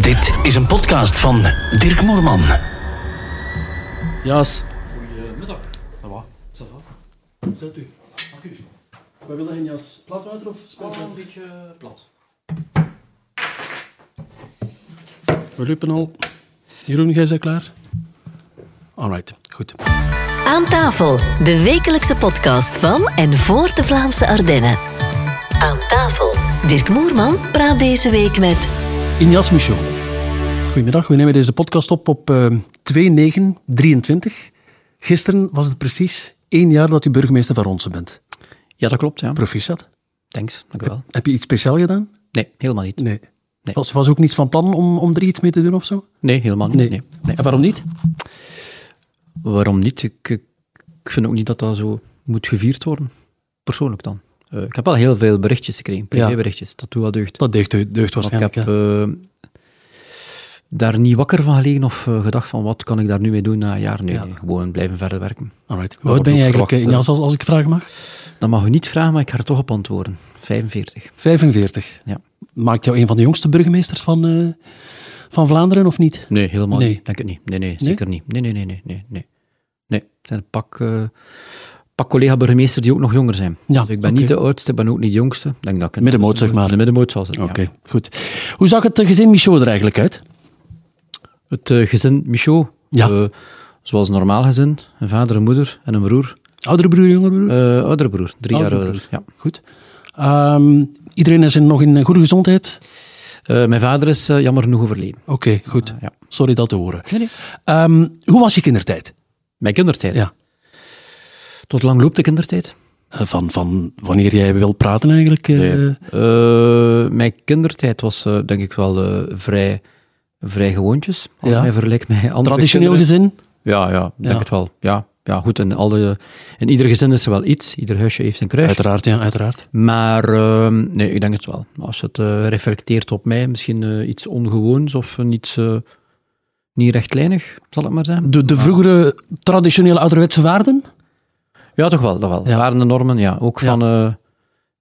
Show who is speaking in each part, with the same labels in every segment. Speaker 1: Dit is een podcast van Dirk Moerman.
Speaker 2: Jas. Goedemiddag. Ça va? Ça va? Zet u. Wij willen geen jas plat water of
Speaker 3: een
Speaker 2: spuitwater?
Speaker 3: beetje plat.
Speaker 2: We lopen al. Jeroen, jij bent klaar? Alright, goed.
Speaker 4: Aan tafel, de wekelijkse podcast van en voor de Vlaamse Ardennen. Aan tafel, Dirk Moerman praat deze week met
Speaker 2: Ignace Michel. Goedemiddag, we nemen deze podcast op op eh 2-9-23. Gisteren was het precies één jaar dat u burgemeester van Ronsen bent.
Speaker 3: Ja, dat klopt, ja.
Speaker 2: Proficiat.
Speaker 3: Thanks, dank u wel.
Speaker 2: Heb je iets speciaal gedaan?
Speaker 3: Nee, helemaal niet.
Speaker 2: Nee.
Speaker 3: Nee.
Speaker 2: Was, was ook niets van plan om, om er iets mee te doen of zo?
Speaker 3: Nee, helemaal niet. Nee.
Speaker 2: Nee.
Speaker 3: Nee.
Speaker 2: En waarom niet?
Speaker 3: Waarom niet? Ik, ik, ik vind ook niet dat dat zo moet gevierd worden. Persoonlijk dan. Eh, ik heb wel heel veel berichtjes gekregen, privéberichtjes. Dat doet wel deugd.
Speaker 2: Dat deugt, deugt
Speaker 3: Maar ik
Speaker 2: waarschijnlijk.
Speaker 3: heb
Speaker 2: hè.
Speaker 3: eh, daar niet wakker van gelegen of eh, gedacht van wat kan ik daar nu mee doen na een jaar. Nee,
Speaker 2: Ja.
Speaker 3: nee, gewoon blijven verder werken.
Speaker 2: Alright. Hoe oud ben
Speaker 3: wordt
Speaker 2: je
Speaker 3: ook
Speaker 2: eigenlijk, eh,
Speaker 3: verwacht,
Speaker 2: Ignace, als, als ik vragen mag?
Speaker 3: Dat mag u niet vragen, maar ik ga er toch op antwoorden. 45.
Speaker 2: 45.
Speaker 3: Ja.
Speaker 2: Maakt jou een van de jongste burgemeesters van, eh, van Vlaanderen of niet?
Speaker 3: Nee, helemaal
Speaker 2: Nee.
Speaker 3: niet. Denk het niet. Nee, nee, zeker niet. Nee, nee, nee, nee, nee. Nee, nee. er zijn een pak, eh, pak collega-burgemeester die ook nog jonger zijn.
Speaker 2: Ja,
Speaker 3: dus ik ben
Speaker 2: oké.
Speaker 3: niet de oudste, ik ben ook niet de jongste. Ik Denk dat ik een-
Speaker 2: Middenmoot, zeg maar.
Speaker 3: De middenmoot zal zijn, ja.
Speaker 2: Oké, goed. Hoe zag het eh, gezin Michaud er eigenlijk uit?
Speaker 3: Het eh, gezin Michaud,
Speaker 2: Ja.
Speaker 3: eh, zoals een normaal gezin, een vader, een moeder en een broer.
Speaker 2: Oudere broer, jongere broer?
Speaker 3: Eh oudere broer, drie
Speaker 2: Oudere
Speaker 3: jaar
Speaker 2: broer.
Speaker 3: ouder. Ja.
Speaker 2: Goed. Ehm, iedereen is in- nog in eh, goede gezondheid?
Speaker 3: Eh, mijn vader is eh, jammer genoeg overleden.
Speaker 2: Oké, goed.
Speaker 3: ja.
Speaker 2: Sorry dat te horen. Ehm, hoe was je kindertijd?
Speaker 3: Mijn kindertijd.
Speaker 2: Ja.
Speaker 3: Tot lang loopt de kindertijd?
Speaker 2: Eh, Van, van wanneer jij wil praten eigenlijk? eh,
Speaker 3: Eh, mijn kindertijd was eh, denk ik wel eh, vrij, vrij gewoontjes. Als
Speaker 2: Ja.
Speaker 3: mij vergelijkt met andere
Speaker 2: traditioneel
Speaker 3: kinderen.
Speaker 2: gezin?
Speaker 3: Ja, ja, denk
Speaker 2: Ja.
Speaker 3: het wel. Ja, ja goed. In, alle, in ieder gezin is er wel iets. Ieder huisje heeft een kruisje.
Speaker 2: Uiteraard, ja, uiteraard.
Speaker 3: Maar ehm, nee, ik denk het wel. Als het eh, reflecteert op mij, misschien eh, iets ongewoons of een iets eh, niet rechtlijnig, zal ik maar zeggen.
Speaker 2: De, de vroegere traditionele ouderwetse waarden?
Speaker 3: Ja, toch wel. Dat wel.
Speaker 2: Ja.
Speaker 3: Waren de normen, ja. Ook
Speaker 2: Ja.
Speaker 3: Van, eh,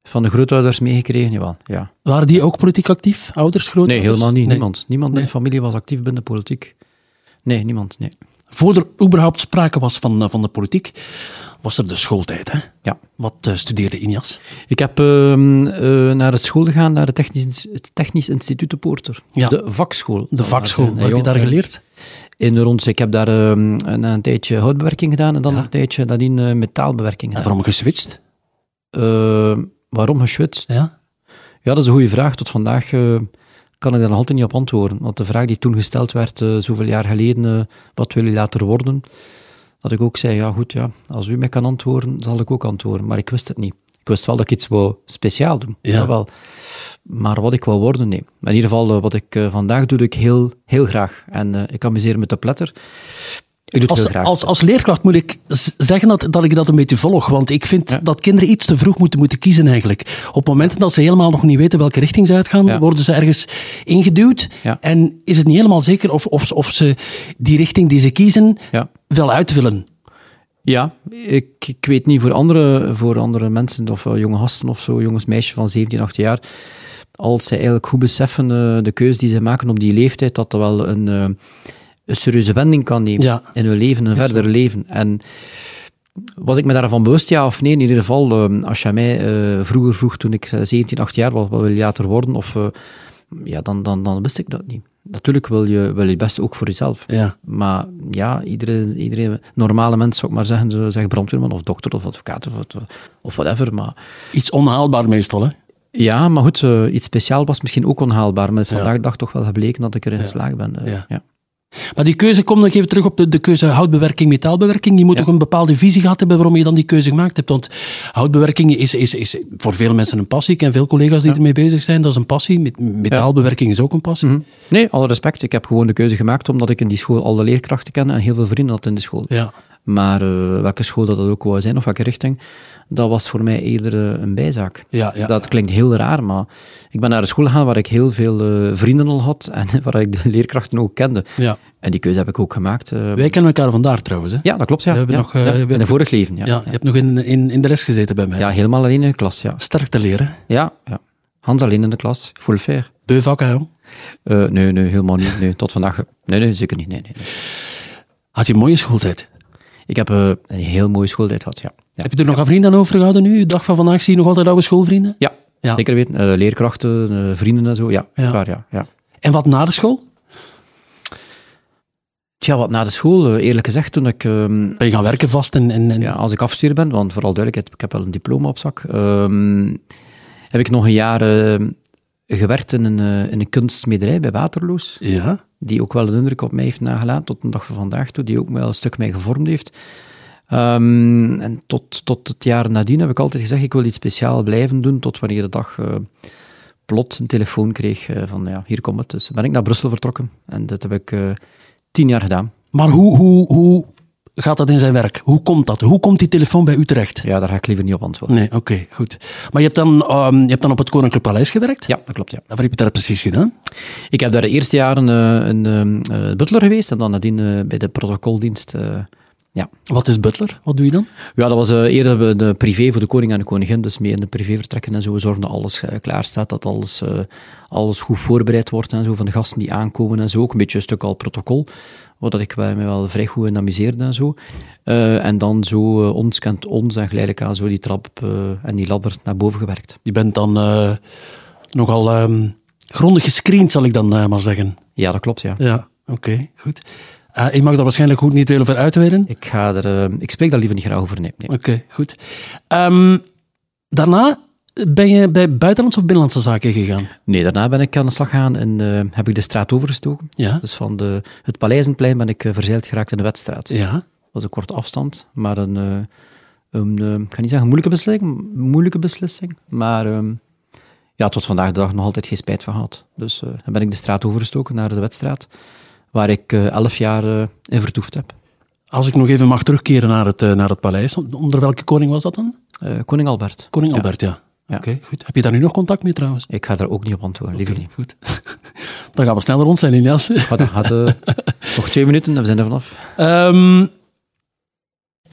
Speaker 3: van de grootouders meegekregen, jawel. Ja.
Speaker 2: Waren die ook politiek actief? Ouders,
Speaker 3: Nee,
Speaker 2: grootouders?
Speaker 3: helemaal niet. Niemand. Niemand in
Speaker 2: Nee.
Speaker 3: de familie was actief binnen de politiek. Nee, niemand. Nee.
Speaker 2: Voor er überhaupt sprake was van, eh, van de politiek, was er de schooltijd. Hè?
Speaker 3: Ja.
Speaker 2: Wat eh, studeerde Injas?
Speaker 3: Ik heb ehm, eh, naar het school gegaan, naar het Technisch, het technisch Instituut de Poorter.
Speaker 2: Ja.
Speaker 3: De vakschool.
Speaker 2: De vakschool. Wat
Speaker 3: Nee,
Speaker 2: heb je
Speaker 3: joh,
Speaker 2: daar
Speaker 3: eh,
Speaker 2: geleerd?
Speaker 3: In de rondse. Ik heb daar ehm, een, een tijdje houtbewerking gedaan en dan een tijdje nadien eh, metaalbewerking
Speaker 2: En
Speaker 3: gedaan.
Speaker 2: waarom geswitcht?
Speaker 3: Eh, waarom geschwitst?
Speaker 2: Ja.
Speaker 3: Ja, dat is een goede vraag. Tot vandaag eh, kan ik daar nog altijd niet op antwoorden. Want de vraag die toen gesteld werd, eh, zoveel jaar geleden, eh, wat wil je later worden? Dat ik ook zei, ja goed, ja, als u mij kan antwoorden, zal ik ook antwoorden. Maar ik wist het niet. Ik wist wel dat ik iets wou speciaal doen.
Speaker 2: Ja.
Speaker 3: dat wel. Maar wat ik wou worden, nee. Maar in ieder geval, eh, wat ik eh, vandaag doe, doe ik heel, heel graag. En eh, ik amuseer me te pletter. Ik doe het heel
Speaker 2: Als,
Speaker 3: graag.
Speaker 2: als, als leerkracht moet ik z- zeggen dat, dat ik dat een beetje volg. Want ik vind dat kinderen iets te vroeg moeten, moeten kiezen eigenlijk. Op momenten dat ze helemaal nog niet weten welke richting ze uitgaan,
Speaker 3: Ja.
Speaker 2: worden ze ergens ingeduwd.
Speaker 3: Ja.
Speaker 2: En is het niet helemaal zeker of, of, of ze die richting die ze kiezen
Speaker 3: Ja.
Speaker 2: wel uit willen.
Speaker 3: Ja, ik, ik weet niet voor andere, voor andere mensen of eh, jonge gasten of zo, jongens, meisjes van 17, 18 jaar. Als zij eigenlijk goed beseffen eh, de keuze die ze maken op die leeftijd, dat dat wel een, eh, een serieuze wending kan nemen
Speaker 2: Ja.
Speaker 3: in hun leven, een verder leven. En was ik me daarvan bewust, ja of nee? In ieder geval, eh, als jij mij eh, vroeger vroeg, toen ik eh, 17, 18 jaar was, wat wil je later worden? Of, eh, ja, dan, dan, dan wist ik dat niet. Natuurlijk wil je, wil je het beste ook voor jezelf.
Speaker 2: Ja.
Speaker 3: Maar ja, iedere, iedere normale mens zou ik maar zeggen, ze zeggen brandweerman of dokter of advocaat of, wat- of whatever. Maar,
Speaker 2: Iets onhaalbaar meestal, hè?
Speaker 3: ja, maar goed, eh, iets speciaal was misschien ook onhaalbaar. Maar het is vandaag de dag toch wel gebleken dat ik erin geslaagd ben. eh,
Speaker 2: Ja.
Speaker 3: ja.
Speaker 2: Maar die keuze, kom nog even terug op de, de keuze houtbewerking, metaalbewerking. Je moet toch een bepaalde visie gehad hebben waarom je dan die keuze gemaakt hebt. Want houtbewerking is, is, is voor veel mensen een passie. Ik ken veel collega's die ermee bezig zijn. Dat is een passie. Met- Metaalbewerking is ook een passie.
Speaker 3: Hm. Nee, alle respect. Ik heb gewoon de keuze gemaakt omdat ik in die school alle leerkrachten kende en heel veel vrienden had in de school.
Speaker 2: Ja.
Speaker 3: Maar eh, welke school dat, dat ook wou zijn of welke richting, dat was voor mij eerder eh, een bijzaak.
Speaker 2: Ja, ja.
Speaker 3: Dat klinkt heel raar, maar ik ben naar een school gegaan waar ik heel veel eh, vrienden al had en waar ik de leerkrachten ook kende.
Speaker 2: Ja.
Speaker 3: En die keuze heb ik ook gemaakt. eh,
Speaker 2: Wij kennen elkaar vandaar trouwens. Hè?
Speaker 3: ja, dat klopt. Ja.
Speaker 2: We hebben
Speaker 3: ja,
Speaker 2: nog, eh,
Speaker 3: ja.
Speaker 2: we hebben-
Speaker 3: In een vorig leven, ja.
Speaker 2: Ja,
Speaker 3: ja.
Speaker 2: je hebt nog in, in, in de rest gezeten bij mij.
Speaker 3: helemaal alleen in de klas, ja.
Speaker 2: Sterk te leren.
Speaker 3: Ja, ja. Hans alleen in de klas, full fair.
Speaker 2: Beu vakken, hè?
Speaker 3: Eh, nee, nee, helemaal niet. Nee, tot vandaag. eh, Nee, nee, zeker niet. Nee, nee, nee.
Speaker 2: Had je een mooie schooltijd?
Speaker 3: Ik heb eh, een heel mooie schooltijd gehad, ja. Ja,
Speaker 2: Heb je er nog aan vrienden aan overgehouden nu? De dag van vandaag zie je nog altijd oude schoolvrienden?
Speaker 3: ja.
Speaker 2: Ja.
Speaker 3: zeker weten. Eh, leerkrachten, eh, vrienden en zo. Ja,
Speaker 2: Ja.
Speaker 3: ja. Waar, ja, ja.
Speaker 2: En wat na de school?
Speaker 3: Tja, wat na de school, eh, eerlijk gezegd, toen ik... ehm,
Speaker 2: Ben je gaan werken vast en... en, en...
Speaker 3: ja, als ik afgestudeerd ben, want vooral duidelijkheid, ik heb wel een diploma op zak, ehm, heb ik nog een jaar ehm, gewerkt in een, eh, in een kunstmederij bij Waterloos,
Speaker 2: Ja?
Speaker 3: die ook wel een indruk op mij heeft nagelaten tot de dag van vandaag toe, die ook wel een stuk mij gevormd heeft. Ehm, en tot, tot het jaar nadien heb ik altijd gezegd, ik wil iets speciaals blijven doen, tot wanneer de dag eh, plots een telefoon kreeg eh, van, ja, hier komt het. Dus ben ik naar Brussel vertrokken en dat heb ik eh, tien jaar gedaan.
Speaker 2: Maar hoe, hoe, hoe gaat dat in zijn werk? Hoe komt dat? Hoe komt die telefoon bij u terecht?
Speaker 3: Ja, daar ga ik liever niet op antwoorden.
Speaker 2: Nee, oké, goed. Maar je hebt, dan, ehm, je hebt dan op het Koninklijk Paleis gewerkt?
Speaker 3: Ja, dat klopt, ja.
Speaker 2: En Wat heb je daar precies gedaan?
Speaker 3: Ik heb daar de eerste jaren eh, een eh, eh, butler geweest en dan nadien eh, bij de protocoldienst. eh, ja.
Speaker 2: Wat is butler? Wat doe je dan?
Speaker 3: ja, dat was eh, eerder de- de privé voor de koning en de koningin, dus mee in de privé vertrekken en zo. We zorgen dat alles eh, klaar staat, dat alles, eh, alles goed voorbereid wordt en zo, van de gasten die aankomen en zo. Ook een beetje een stuk al protocol, waar dat ik wel- me wel vrij goed in amuseerde en zo. Eh, en dan zo eh, ons kent ons en geleidelijk aan zo die trap eh, en die ladder naar boven gewerkt.
Speaker 2: Je bent dan eh, nogal ehm, grondig gescreend, zal ik dan eh, maar zeggen.
Speaker 3: Ja, dat klopt, ja.
Speaker 2: Ja, oké, goed. Eh, ik mag daar waarschijnlijk goed niet veel over uitweiden.
Speaker 3: Ik, ga er, eh, ik spreek daar liever niet graag over, nee. nee.
Speaker 2: Oké, goed. Ehm, daarna ben je bij buitenlandse of binnenlandse zaken gegaan?
Speaker 3: Nee, daarna ben ik aan de slag gegaan en eh, heb ik de straat overgestoken.
Speaker 2: Ja.
Speaker 3: Dus van de, het Paleizenplein ben ik eh, verzeild geraakt in de wedstraat. Dat
Speaker 2: Ja.
Speaker 3: was een korte afstand, maar een, eh, een eh, ik ga niet zeggen moeilijke beslissing, moeilijke beslissing maar ehm, ja, tot vandaag de dag nog altijd geen spijt van gehad. Dus eh, dan ben ik de straat overgestoken naar de wedstraat, waar ik eh, elf jaar eh, in vertoefd heb.
Speaker 2: Als ik nog even mag terugkeren naar het, eh, naar het paleis. Onder welke koning was dat dan?
Speaker 3: Eh, Koning Albert.
Speaker 2: Koning
Speaker 3: Ja.
Speaker 2: Albert, ja.
Speaker 3: Ja.
Speaker 2: Oké, goed. Heb je daar nu nog contact mee trouwens?
Speaker 3: Ik ga daar ook niet op antwoorden, liever niet.
Speaker 2: Goed. Dan gaan we sneller rond zijn, Elias.
Speaker 3: Wat had, eh, nog twee minuten en we zijn er vanaf.
Speaker 2: Ehm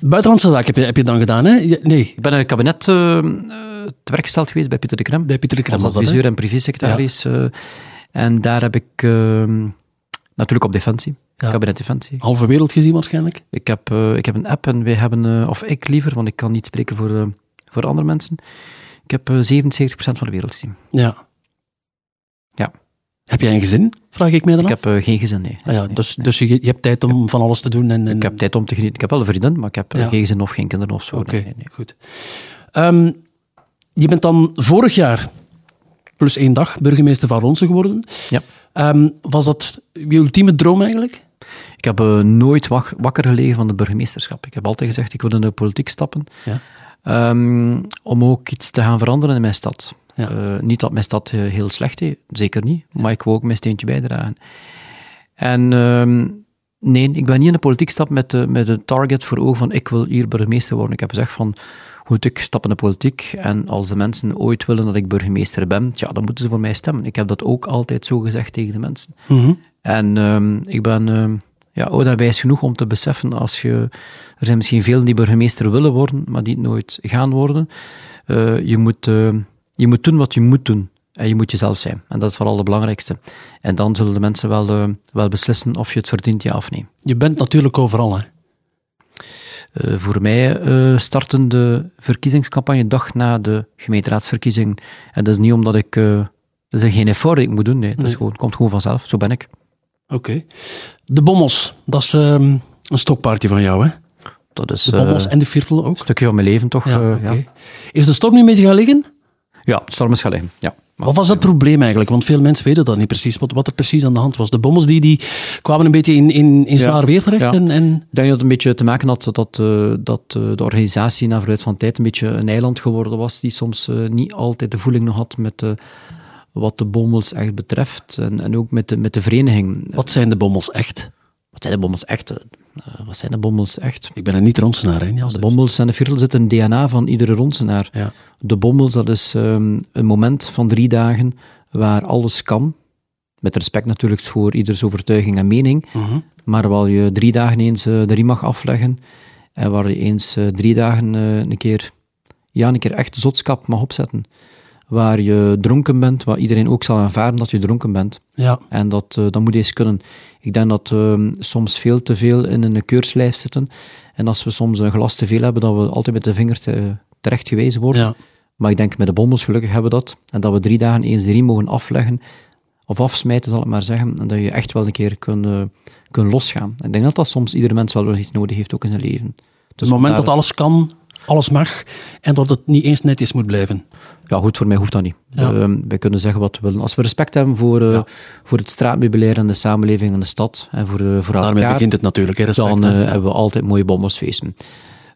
Speaker 2: buitenlandse zaak heb je, heb je dan gedaan, hè? Je- Nee,
Speaker 3: Ik ben in het kabinet eh, eh, te werk gesteld geweest bij Pieter de Krem.
Speaker 2: bij Pieter de Krem
Speaker 3: als
Speaker 2: was dat, hè?
Speaker 3: adviseur en privésecretaris. eh, en daar heb ik ehm, natuurlijk op Defensie,
Speaker 2: Ja.
Speaker 3: kabinet Defensie.
Speaker 2: Halve wereld gezien waarschijnlijk.
Speaker 3: Ik heb, eh, ik heb een app en wij hebben, eh, of ik liever, want ik kan niet spreken voor, eh, voor andere mensen. Ik heb eh, 77% van de wereld gezien.
Speaker 2: Ja.
Speaker 3: Ja.
Speaker 2: Heb jij een gezin? Vraag ik mij dan
Speaker 3: Ik
Speaker 2: af.
Speaker 3: heb eh, geen gezin, nee.
Speaker 2: Ah ja,
Speaker 3: Nee,
Speaker 2: dus
Speaker 3: nee.
Speaker 2: dus je, je hebt tijd om van alles te doen. En, en...
Speaker 3: Ik heb tijd om te genieten. Ik heb wel een vriendin, maar ik heb eh,
Speaker 2: Ja.
Speaker 3: geen gezin of geen kinderen of zo.
Speaker 2: Oké,
Speaker 3: Nee, nee, nee.
Speaker 2: goed. Ehm, je bent dan vorig jaar, plus één dag, burgemeester van Ronsen geworden.
Speaker 3: Ja.
Speaker 2: Ehm, was dat je ultieme droom eigenlijk?
Speaker 3: Ik heb eh, nooit wak- wakker gelegen van de burgemeesterschap. Ik heb altijd gezegd, ik wil in de politiek stappen.
Speaker 2: Ja.
Speaker 3: Ehm, om ook iets te gaan veranderen in mijn stad.
Speaker 2: Ja.
Speaker 3: Eh, niet dat mijn stad eh, heel slecht is, zeker niet. Maar ik wil ook mijn steentje bijdragen. En ehm, nee, ik ben niet in de politiek stap met, de, met een target voor ogen van ik wil hier burgemeester worden. Ik heb gezegd van, goed, ik stap in de politiek en als de mensen ooit willen dat ik burgemeester ben, ja, dan moeten ze voor mij stemmen. Ik heb dat ook altijd zo gezegd tegen de mensen. En ehm, ik ben ehm, ja, oud en wijs genoeg om te beseffen, als je, er zijn misschien velen die burgemeester willen worden, maar die het nooit gaan worden. Eh, je, moet, ehm, je moet doen wat je moet doen. En je moet jezelf zijn. En dat is vooral het belangrijkste. En dan zullen de mensen wel, ehm, wel beslissen of je het verdient, ja of nee.
Speaker 2: Je bent natuurlijk overal, hè?
Speaker 3: Eh, voor mij eh starten de verkiezingscampagne dag na de gemeenteraadsverkiezing. En dat is niet omdat ik... eh dat is geen effort die ik moet doen, nee. Dat is
Speaker 2: Nee.
Speaker 3: gewoon, komt gewoon vanzelf. Zo ben ik.
Speaker 2: Oké. De Bommels, dat is ehm, een stokpaardje van jou, hè?
Speaker 3: Dat is
Speaker 2: De
Speaker 3: eh,
Speaker 2: Bommels
Speaker 3: een
Speaker 2: en de Viertel ook.
Speaker 3: stukje van mijn leven, toch?
Speaker 2: Ja,
Speaker 3: eh,
Speaker 2: oké.
Speaker 3: ja.
Speaker 2: Is de storm nu een beetje gaan liggen?
Speaker 3: Ja, het storm is gaan liggen. Ja. Maar-
Speaker 2: Wat was dat probleem eigenlijk? Want veel mensen weten dat niet precies, wat, wat er precies aan de hand was. De bommels die, die kwamen een beetje in, in, in zwaar weer terecht.
Speaker 3: ja.
Speaker 2: En, en,
Speaker 3: Ik denk dat het een beetje te maken had dat, eh, dat eh, de organisatie na verluid van tijd een beetje een eiland geworden was, die soms eh, niet altijd de voeling nog had met eh, wat de bommels echt betreft. En, en ook met de, met de vereniging.
Speaker 2: wat zijn de bommels echt?
Speaker 3: Wat zijn de bommels echt? eh? Eh, wat zijn de bommels echt?
Speaker 2: Ik ben een niet-ronsenaar, hè? Niels?
Speaker 3: De bommels en de viertel zitten in het DNA van iedere ronsenaar.
Speaker 2: Ja.
Speaker 3: De bommels, dat is ehm, een moment van drie dagen waar alles kan. Met respect natuurlijk voor ieders overtuiging en mening.
Speaker 2: Mhm.
Speaker 3: Maar waar je drie dagen eens eh, de riem mag afleggen. En waar je eens eh, drie dagen eh, een keer, ja, een keer echt zotskap mag opzetten. waar je dronken bent, waar iedereen ook zal aanvaarden dat je dronken bent.
Speaker 2: Ja.
Speaker 3: En dat, eh, dat moet eens kunnen. Ik denk dat ehm, soms veel te veel in een keurslijf zitten. En als we soms een glas te veel hebben, dat we altijd met de vinger te- terecht gewezen worden.
Speaker 2: Ja.
Speaker 3: Maar ik denk met de bommels gelukkig hebben we dat. En dat we drie dagen eens de riem mogen afleggen. Of afsmijten, zal ik maar zeggen. En dat je echt wel een keer kunt, eh, kunt losgaan. Ik denk dat dat soms iedere mens wel wel iets nodig heeft, ook in zijn leven. Dus
Speaker 2: het moment
Speaker 3: vandaar-
Speaker 2: dat alles kan, alles mag en dat het niet eens netjes moet blijven.
Speaker 3: Ja, goed, voor mij hoeft dat niet.
Speaker 2: Ja.
Speaker 3: Ehm, wij kunnen zeggen wat we willen. Als we respect hebben voor, eh,
Speaker 2: Ja.
Speaker 3: voor het straatmeubilair en de samenleving en de stad en voor, eh, voor
Speaker 2: Daarmee
Speaker 3: elkaar,
Speaker 2: begint het natuurlijk, hè, respect.
Speaker 3: dan
Speaker 2: hè.
Speaker 3: eh, hebben we altijd mooie bommelsfeesten.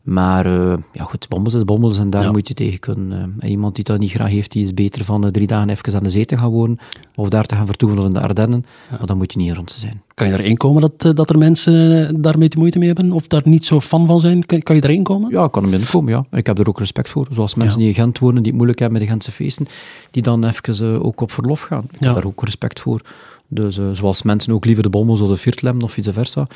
Speaker 3: Maar eh, ja, goed, bommels is bommels en daar moet je tegen kunnen. eh. en iemand die dat niet graag heeft, die is beter van eh, drie dagen even aan de zee te gaan wonen of daar te gaan vertoeven of in de Ardennen. Maar dan moet je niet in rond te zijn.
Speaker 2: Kan je erin komen dat, eh, dat er mensen eh, daarmee te moeite mee hebben of daar niet zo fan van zijn? Kan, kan je erin komen?
Speaker 3: Ja, ik kan er binnenkomen, ja. En ik heb er ook respect voor. Zoals mensen die in Gent wonen, die het moeilijk hebben met de Gentse feesten, die dan even eh, ook op verlof gaan. Ik
Speaker 2: Ja.
Speaker 3: heb daar ook respect voor. Dus eh, zoals mensen ook liever de bommels of de viertlem of vice versa.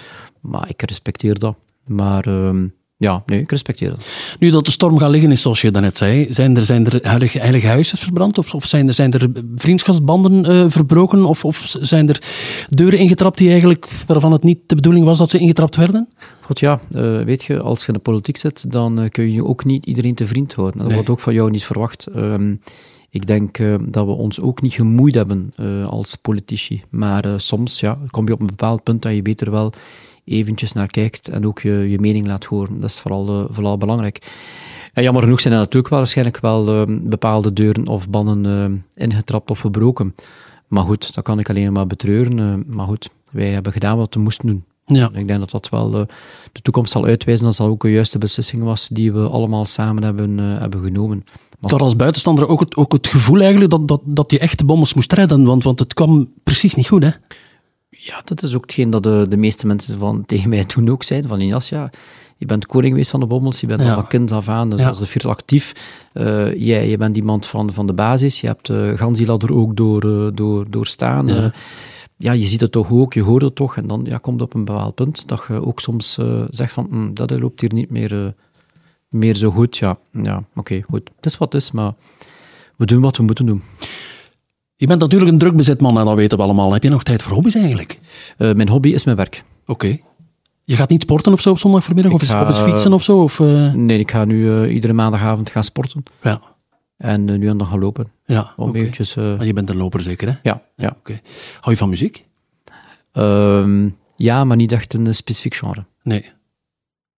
Speaker 3: Maar ik respecteer dat. Maar ehm, ja, nee, ik respecteer dat.
Speaker 2: Nu dat de storm gaat liggen is, zoals je daarnet zei, zijn er, zijn er heilige, heilige huizen verbrand? Of, of zijn, er, zijn er vriendschapsbanden eh, verbroken? Of, of zijn er deuren ingetrapt die eigenlijk, waarvan het niet de bedoeling was dat ze ingetrapt werden?
Speaker 3: Goed, ja, eh, weet je, als je in de politiek zit, dan eh, kun je ook niet iedereen te vriend houden. En Dat
Speaker 2: Nee.
Speaker 3: wordt ook van jou niet verwacht. Ehm, ik denk eh, dat we ons ook niet gemoeid hebben eh, als politici. Maar eh, soms ja, kom je op een bepaald punt dat je beter wel eventjes naar kijkt en ook je, je mening laat horen. Dat is vooral, eh, vooral belangrijk. En jammer genoeg zijn er natuurlijk wel waarschijnlijk wel eh, bepaalde deuren of bannen eh, ingetrapt of verbroken. Maar goed, dat kan ik alleen maar betreuren. eh, maar goed, wij hebben gedaan wat we moesten doen.
Speaker 2: Ja.
Speaker 3: Ik denk dat dat wel eh, de toekomst zal uitwijzen. Dat dat ook een juiste beslissing was die we allemaal samen hebben, eh, hebben genomen.
Speaker 2: Ik had als buitenstander ook het, ook het gevoel eigenlijk dat, dat, dat je echt de bommels moest redden, want, want het kwam precies niet goed, hè?
Speaker 3: Ja, dat is ook hetgeen dat de, de meeste mensen van, tegen mij toen ook zeiden. Van Jas, ja, je bent koning geweest van de bommels, je bent
Speaker 2: Ja.
Speaker 3: al van kind af aan, dus
Speaker 2: Ja.
Speaker 3: als de viertel actief. Eh, jij, je bent iemand van, van de basis, je hebt eh gans die ladder ook door, eh, door, doorstaan. Ja. ja, je ziet het toch ook, je hoort het toch. En dan ja, komt het op een bepaald punt dat je ook soms eh, zegt van, "Hm, dat loopt hier niet meer, eh, meer zo goed. Ja, ja oké, goed. Het is wat het is, maar we doen wat we moeten doen.
Speaker 2: Je bent natuurlijk een drukbezet man, en dat weten we allemaal. Heb je nog tijd voor hobby's eigenlijk?
Speaker 3: Eh, mijn hobby is mijn werk.
Speaker 2: Oké. Je gaat niet sporten of zo op zondagmiddag? Of,
Speaker 3: Ik
Speaker 2: is-
Speaker 3: ga,
Speaker 2: of is fietsen of zo? Of, eh,
Speaker 3: Nee, ik ga nu eh, iedere maandagavond gaan sporten.
Speaker 2: ja,
Speaker 3: En eh, nu en dan gaan lopen.
Speaker 2: ja
Speaker 3: Om
Speaker 2: oké.
Speaker 3: eventjes... eh,
Speaker 2: Maar je bent een loper zeker, hè?
Speaker 3: ja, ja.
Speaker 2: Oké. Hou je van muziek?
Speaker 3: Ehm, ja, maar niet echt een eh, specifiek genre.
Speaker 2: Nee.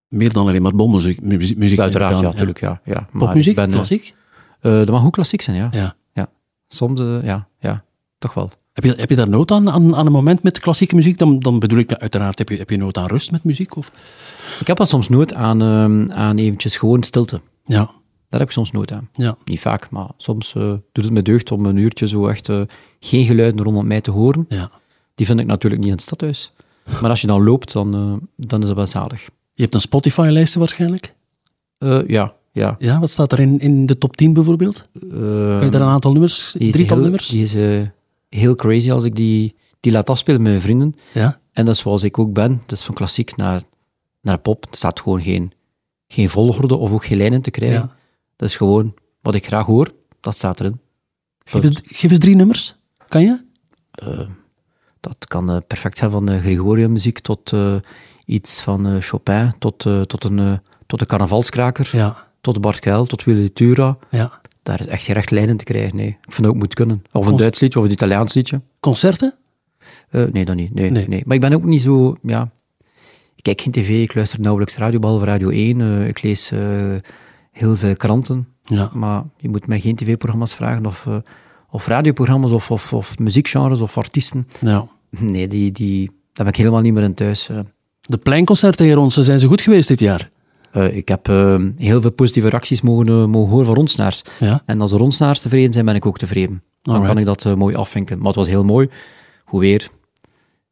Speaker 2: Meer dan alleen maar bommuziek. Muziek, muziek
Speaker 3: Uiteraard, ja,
Speaker 2: neem ik aan,
Speaker 3: natuurlijk. Ja. Ja, maar
Speaker 2: Popmuziek,
Speaker 3: ik ben, eh,
Speaker 2: klassiek?
Speaker 3: eh, dat mag ook klassiek zijn, ja.
Speaker 2: Ja.
Speaker 3: Soms, eh, ja, ja. Toch wel.
Speaker 2: Heb je, heb je daar nood aan, aan, aan een moment met klassieke muziek? Dan, dan bedoel ik, uiteraard, heb je, heb je nood aan rust met muziek? Of?
Speaker 3: Ik heb wel soms nood aan, ehm, aan eventjes gewoon stilte.
Speaker 2: Ja,
Speaker 3: Daar heb ik soms nood aan.
Speaker 2: ja.
Speaker 3: Niet vaak, maar soms eh, doet het me deugd om een uurtje zo echt eh, geen geluiden rondom mij te horen.
Speaker 2: ja.
Speaker 3: Die vind ik natuurlijk niet in het stadhuis. Maar als je dan loopt, dan, eh, dan is dat wel zalig.
Speaker 2: Je hebt een Spotify-lijst waarschijnlijk.
Speaker 3: Eh, ja, ja.
Speaker 2: Ja, wat staat er in, in de top 10 bijvoorbeeld?
Speaker 3: Eh,
Speaker 2: Kun je daar een aantal nummers,
Speaker 3: Die is
Speaker 2: drietal
Speaker 3: heel-
Speaker 2: nummers?
Speaker 3: Die is eh, heel crazy als ik die, die laat afspelen met mijn vrienden.
Speaker 2: Ja,
Speaker 3: En dat is zoals ik ook ben. Dus van klassiek naar, naar pop. Er staat gewoon geen, geen volgorde of ook geen lijnen te krijgen.
Speaker 2: Ja.
Speaker 3: Dat is gewoon wat ik graag hoor, dat staat erin.
Speaker 2: geef eens, geef eens drie nummers. Kan je?
Speaker 3: Dat kan eh, perfect zijn van eh Gregorian muziek tot eh, iets van eh, Chopin, tot, eh, tot, een, eh, tot een carnavalskraker,
Speaker 2: Ja,
Speaker 3: tot Bart Kuil, tot Willy Tura.
Speaker 2: ja.
Speaker 3: Daar is echt geen recht lijnen te krijgen, nee. Ik vind dat ook moet kunnen. Of een
Speaker 2: Ons-
Speaker 3: Duits liedje, of een Italiaans liedje.
Speaker 2: Concerten?
Speaker 3: Eh, nee, dan niet. Nee,
Speaker 2: Nee.
Speaker 3: nee. Maar ik ben ook niet zo... Ja, ik kijk geen tv, ik luister nauwelijks radio, behalve Radio 1. eh, ik lees eh, heel veel kranten.
Speaker 2: Ja.
Speaker 3: Maar je moet mij geen tv-programma's vragen of, eh, of radioprogramma's of, of, of muziekgenres of artiesten.
Speaker 2: Ja.
Speaker 3: Nee, die, die, daar ben ik helemaal niet meer in thuis. eh.
Speaker 2: De pleinconcerten hier ons, zijn ze goed geweest dit jaar?
Speaker 3: Eh, ik heb eh, heel veel positieve reacties mogen, eh, mogen horen van rondsnaars.
Speaker 2: Ja.
Speaker 3: En als de rondsnaars tevreden zijn, ben ik ook tevreden. Dan
Speaker 2: Alright.
Speaker 3: kan ik dat eh, mooi afvinken. Maar het was heel mooi. Goed weer,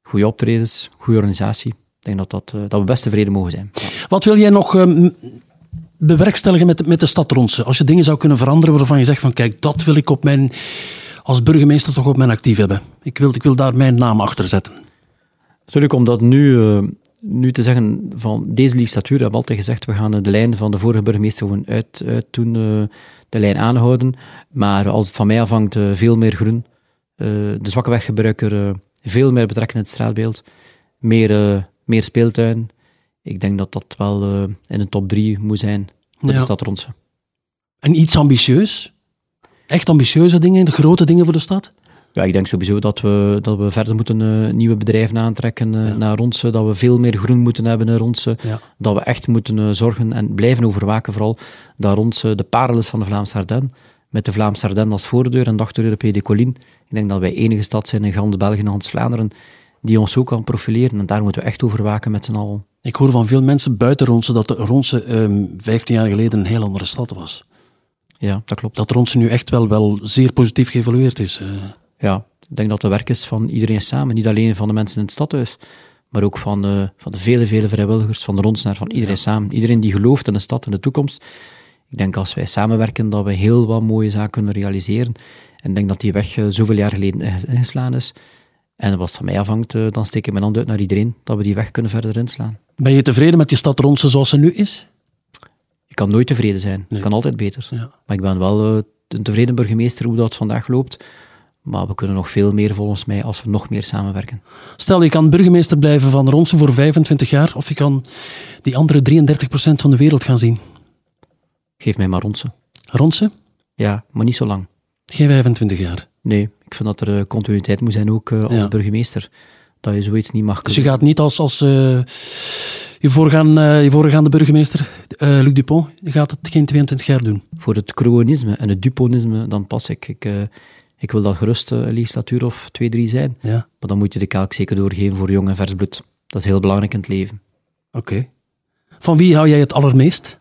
Speaker 3: goede optredens, goede organisatie. Ik denk dat, dat, eh, dat we best tevreden mogen zijn. Ja.
Speaker 2: Wat wil jij nog ehm, bewerkstelligen met, met de stad Ronsen? Als je dingen zou kunnen veranderen waarvan je zegt van kijk, dat wil ik op mijn, als burgemeester toch op mijn actief hebben. Ik wil, ik wil daar mijn naam achter zetten.
Speaker 3: Natuurlijk, om dat nu, eh, nu te zeggen van deze legislatuur, hebben we altijd gezegd, we gaan eh, de lijn van de vorige burgemeester gewoon uit, uit doen. eh, de lijn aanhouden. Maar als het van mij afhangt, eh, veel meer groen. eh, de zwakke weggebruiker eh, veel meer betrekken in het straatbeeld. Meer, eh, meer speeltuin. Ik denk dat dat wel eh, in de top drie moet zijn voor
Speaker 2: Ja.
Speaker 3: de stad Ronsen.
Speaker 2: En iets ambitieus? Echt ambitieuze dingen, de grote dingen voor de stad?
Speaker 3: Ja, ik denk sowieso dat we, dat we verder moeten eh, nieuwe bedrijven aantrekken eh, naar Ronsen. Dat we veel meer groen moeten hebben in Ronsen.
Speaker 2: Ja.
Speaker 3: Dat we echt moeten eh, zorgen en blijven overwaken vooral dat Ronsen de parel is van de Vlaamse Ardennen. Met de Vlaamse Ardennen als voordeur en de achterdeur de Pays de Colline. Ik denk dat wij enige stad zijn in gans België en gans Vlaanderen die ons zo kan profileren. En daar moeten we echt over waken met z'n allen.
Speaker 2: Ik hoor van veel mensen buiten Ronsen dat de Ronsen ehm 15 jaar geleden een heel andere stad was.
Speaker 3: Ja, dat klopt.
Speaker 2: Dat Ronsen nu echt wel, wel zeer positief geëvalueerd is. eh.
Speaker 3: Ja, ik denk dat het werk is van iedereen samen. Niet alleen van de mensen in het stadhuis, maar ook van, eh, van de vele, vele vrijwilligers, van de rondsnaar, van iedereen samen. Iedereen die gelooft in de stad en de toekomst. Ik denk als wij samenwerken dat we heel wat mooie zaken kunnen realiseren. En ik denk dat die weg eh, zoveel jaar geleden inges- ingeslaan is. En wat van mij afhangt, eh, dan steek ik mijn hand uit naar iedereen, dat we die weg kunnen verder inslaan.
Speaker 2: Ben je tevreden met die stad Ronsen zoals ze nu is?
Speaker 3: Ik kan nooit tevreden zijn. Het kan altijd beter.
Speaker 2: Ja.
Speaker 3: Maar ik ben wel eh, een tevreden burgemeester hoe dat vandaag loopt. Maar we kunnen nog veel meer volgens mij als we nog meer samenwerken.
Speaker 2: Stel, je kan burgemeester blijven van Ronsen voor 25 jaar, of je kan die andere 33% van de wereld gaan zien.
Speaker 3: Geef mij maar ronsen.
Speaker 2: Ronsen,
Speaker 3: Ja, maar niet zo lang.
Speaker 2: geen 25 jaar.
Speaker 3: Nee, ik vind dat er eh, continuïteit moet zijn ook eh, als
Speaker 2: Ja.
Speaker 3: burgemeester. Dat je zoiets niet mag
Speaker 2: Dus je
Speaker 3: doen.
Speaker 2: gaat niet als, als eh, je, voorgaan, eh, je voorgaande burgemeester, eh, Luc Dupont, je gaat het geen 22 jaar doen.
Speaker 3: Voor het croonisme en het duponisme, dan pas ik. Ik, eh, ik wil dat gerust eh, een legislatuur of twee, drie zijn.
Speaker 2: Ja,
Speaker 3: Maar dan moet je de kelk zeker doorgeven voor jong en vers bloed. Dat is heel belangrijk in het leven.
Speaker 2: oké. Van wie hou jij het allermeest?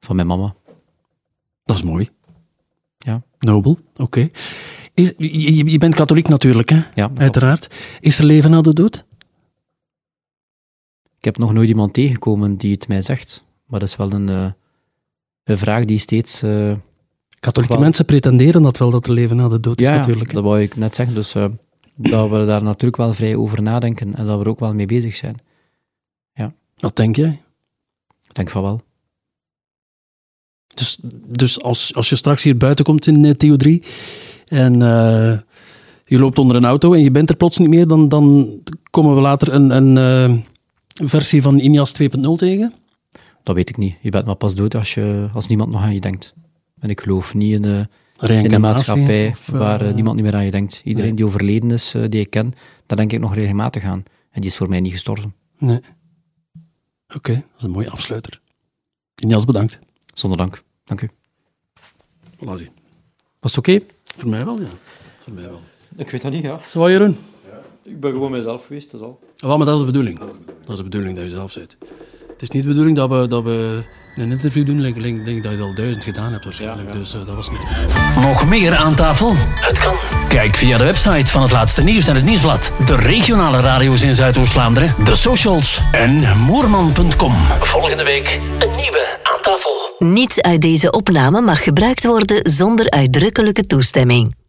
Speaker 3: Van mijn mama.
Speaker 2: Dat is mooi.
Speaker 3: Ja.
Speaker 2: Nobel, oké. Is- Je, je- je bent katholiek natuurlijk, hè?
Speaker 3: Ja, dat
Speaker 2: Uiteraard. Is er leven na de dood?
Speaker 3: Ik heb nog nooit iemand tegengekomen die het mij zegt. Maar dat is wel een, eh, een vraag die steeds... eh,
Speaker 2: Katholieke
Speaker 3: Wel.
Speaker 2: mensen pretenderen dat wel, dat er leven na de dood is natuurlijk. hè.
Speaker 3: dat wou ik net zeggen. Dus eh, dat we daar natuurlijk wel vrij over nadenken en dat we er ook wel mee bezig zijn.
Speaker 2: Wat denk jij?
Speaker 3: Ik denk van wel.
Speaker 2: Dus, dus als, als je straks hier buiten komt in eh, Theo 3 en eh, je loopt onder een auto en je bent er plots niet meer, dan, dan komen we later een, een eh, versie van INIAS 2.0 tegen.
Speaker 3: Dat weet ik niet. Je bent maar pas dood als, je, als niemand nog aan je denkt. En ik geloof niet in, eh, in
Speaker 2: Reïncarnatie,
Speaker 3: een maatschappij
Speaker 2: of, eh,
Speaker 3: waar eh, niemand niet meer aan je denkt. Iedereen die overleden is, eh, die ik ken, daar denk ik nog regelmatig aan. En die is voor mij niet gestorven.
Speaker 2: Nee. Oké, dat is een mooie afsluiter. INIAS, bedankt.
Speaker 3: Zonder dank. Dank u.
Speaker 2: Voilà, zie.
Speaker 3: Was het oké?
Speaker 2: Voor mij wel, ja. Voor mij wel.
Speaker 3: Ik weet dat niet, ja.
Speaker 2: Zo, Jeroen? Ah,
Speaker 3: Ik ben gewoon mezelf geweest, dat is al.
Speaker 2: Wel, maar dat is de bedoeling. Dat is de bedoeling dat je zelf bent. Het is niet de bedoeling dat we, dat we een interview doen. Ik denk, denk dat je al duizend gedaan hebt waarschijnlijk. Dus eh, dat was niet de bedoeling.
Speaker 1: Nog meer aan tafel? Het kan. Kijk via de website van het laatste nieuws en het nieuwsblad. De regionale radio's in Zuidoost-Vlaanderen. De socials en moerman.com. Volgende week een nieuwe aan tafel.
Speaker 4: Niets uit deze opname mag gebruikt worden zonder uitdrukkelijke toestemming.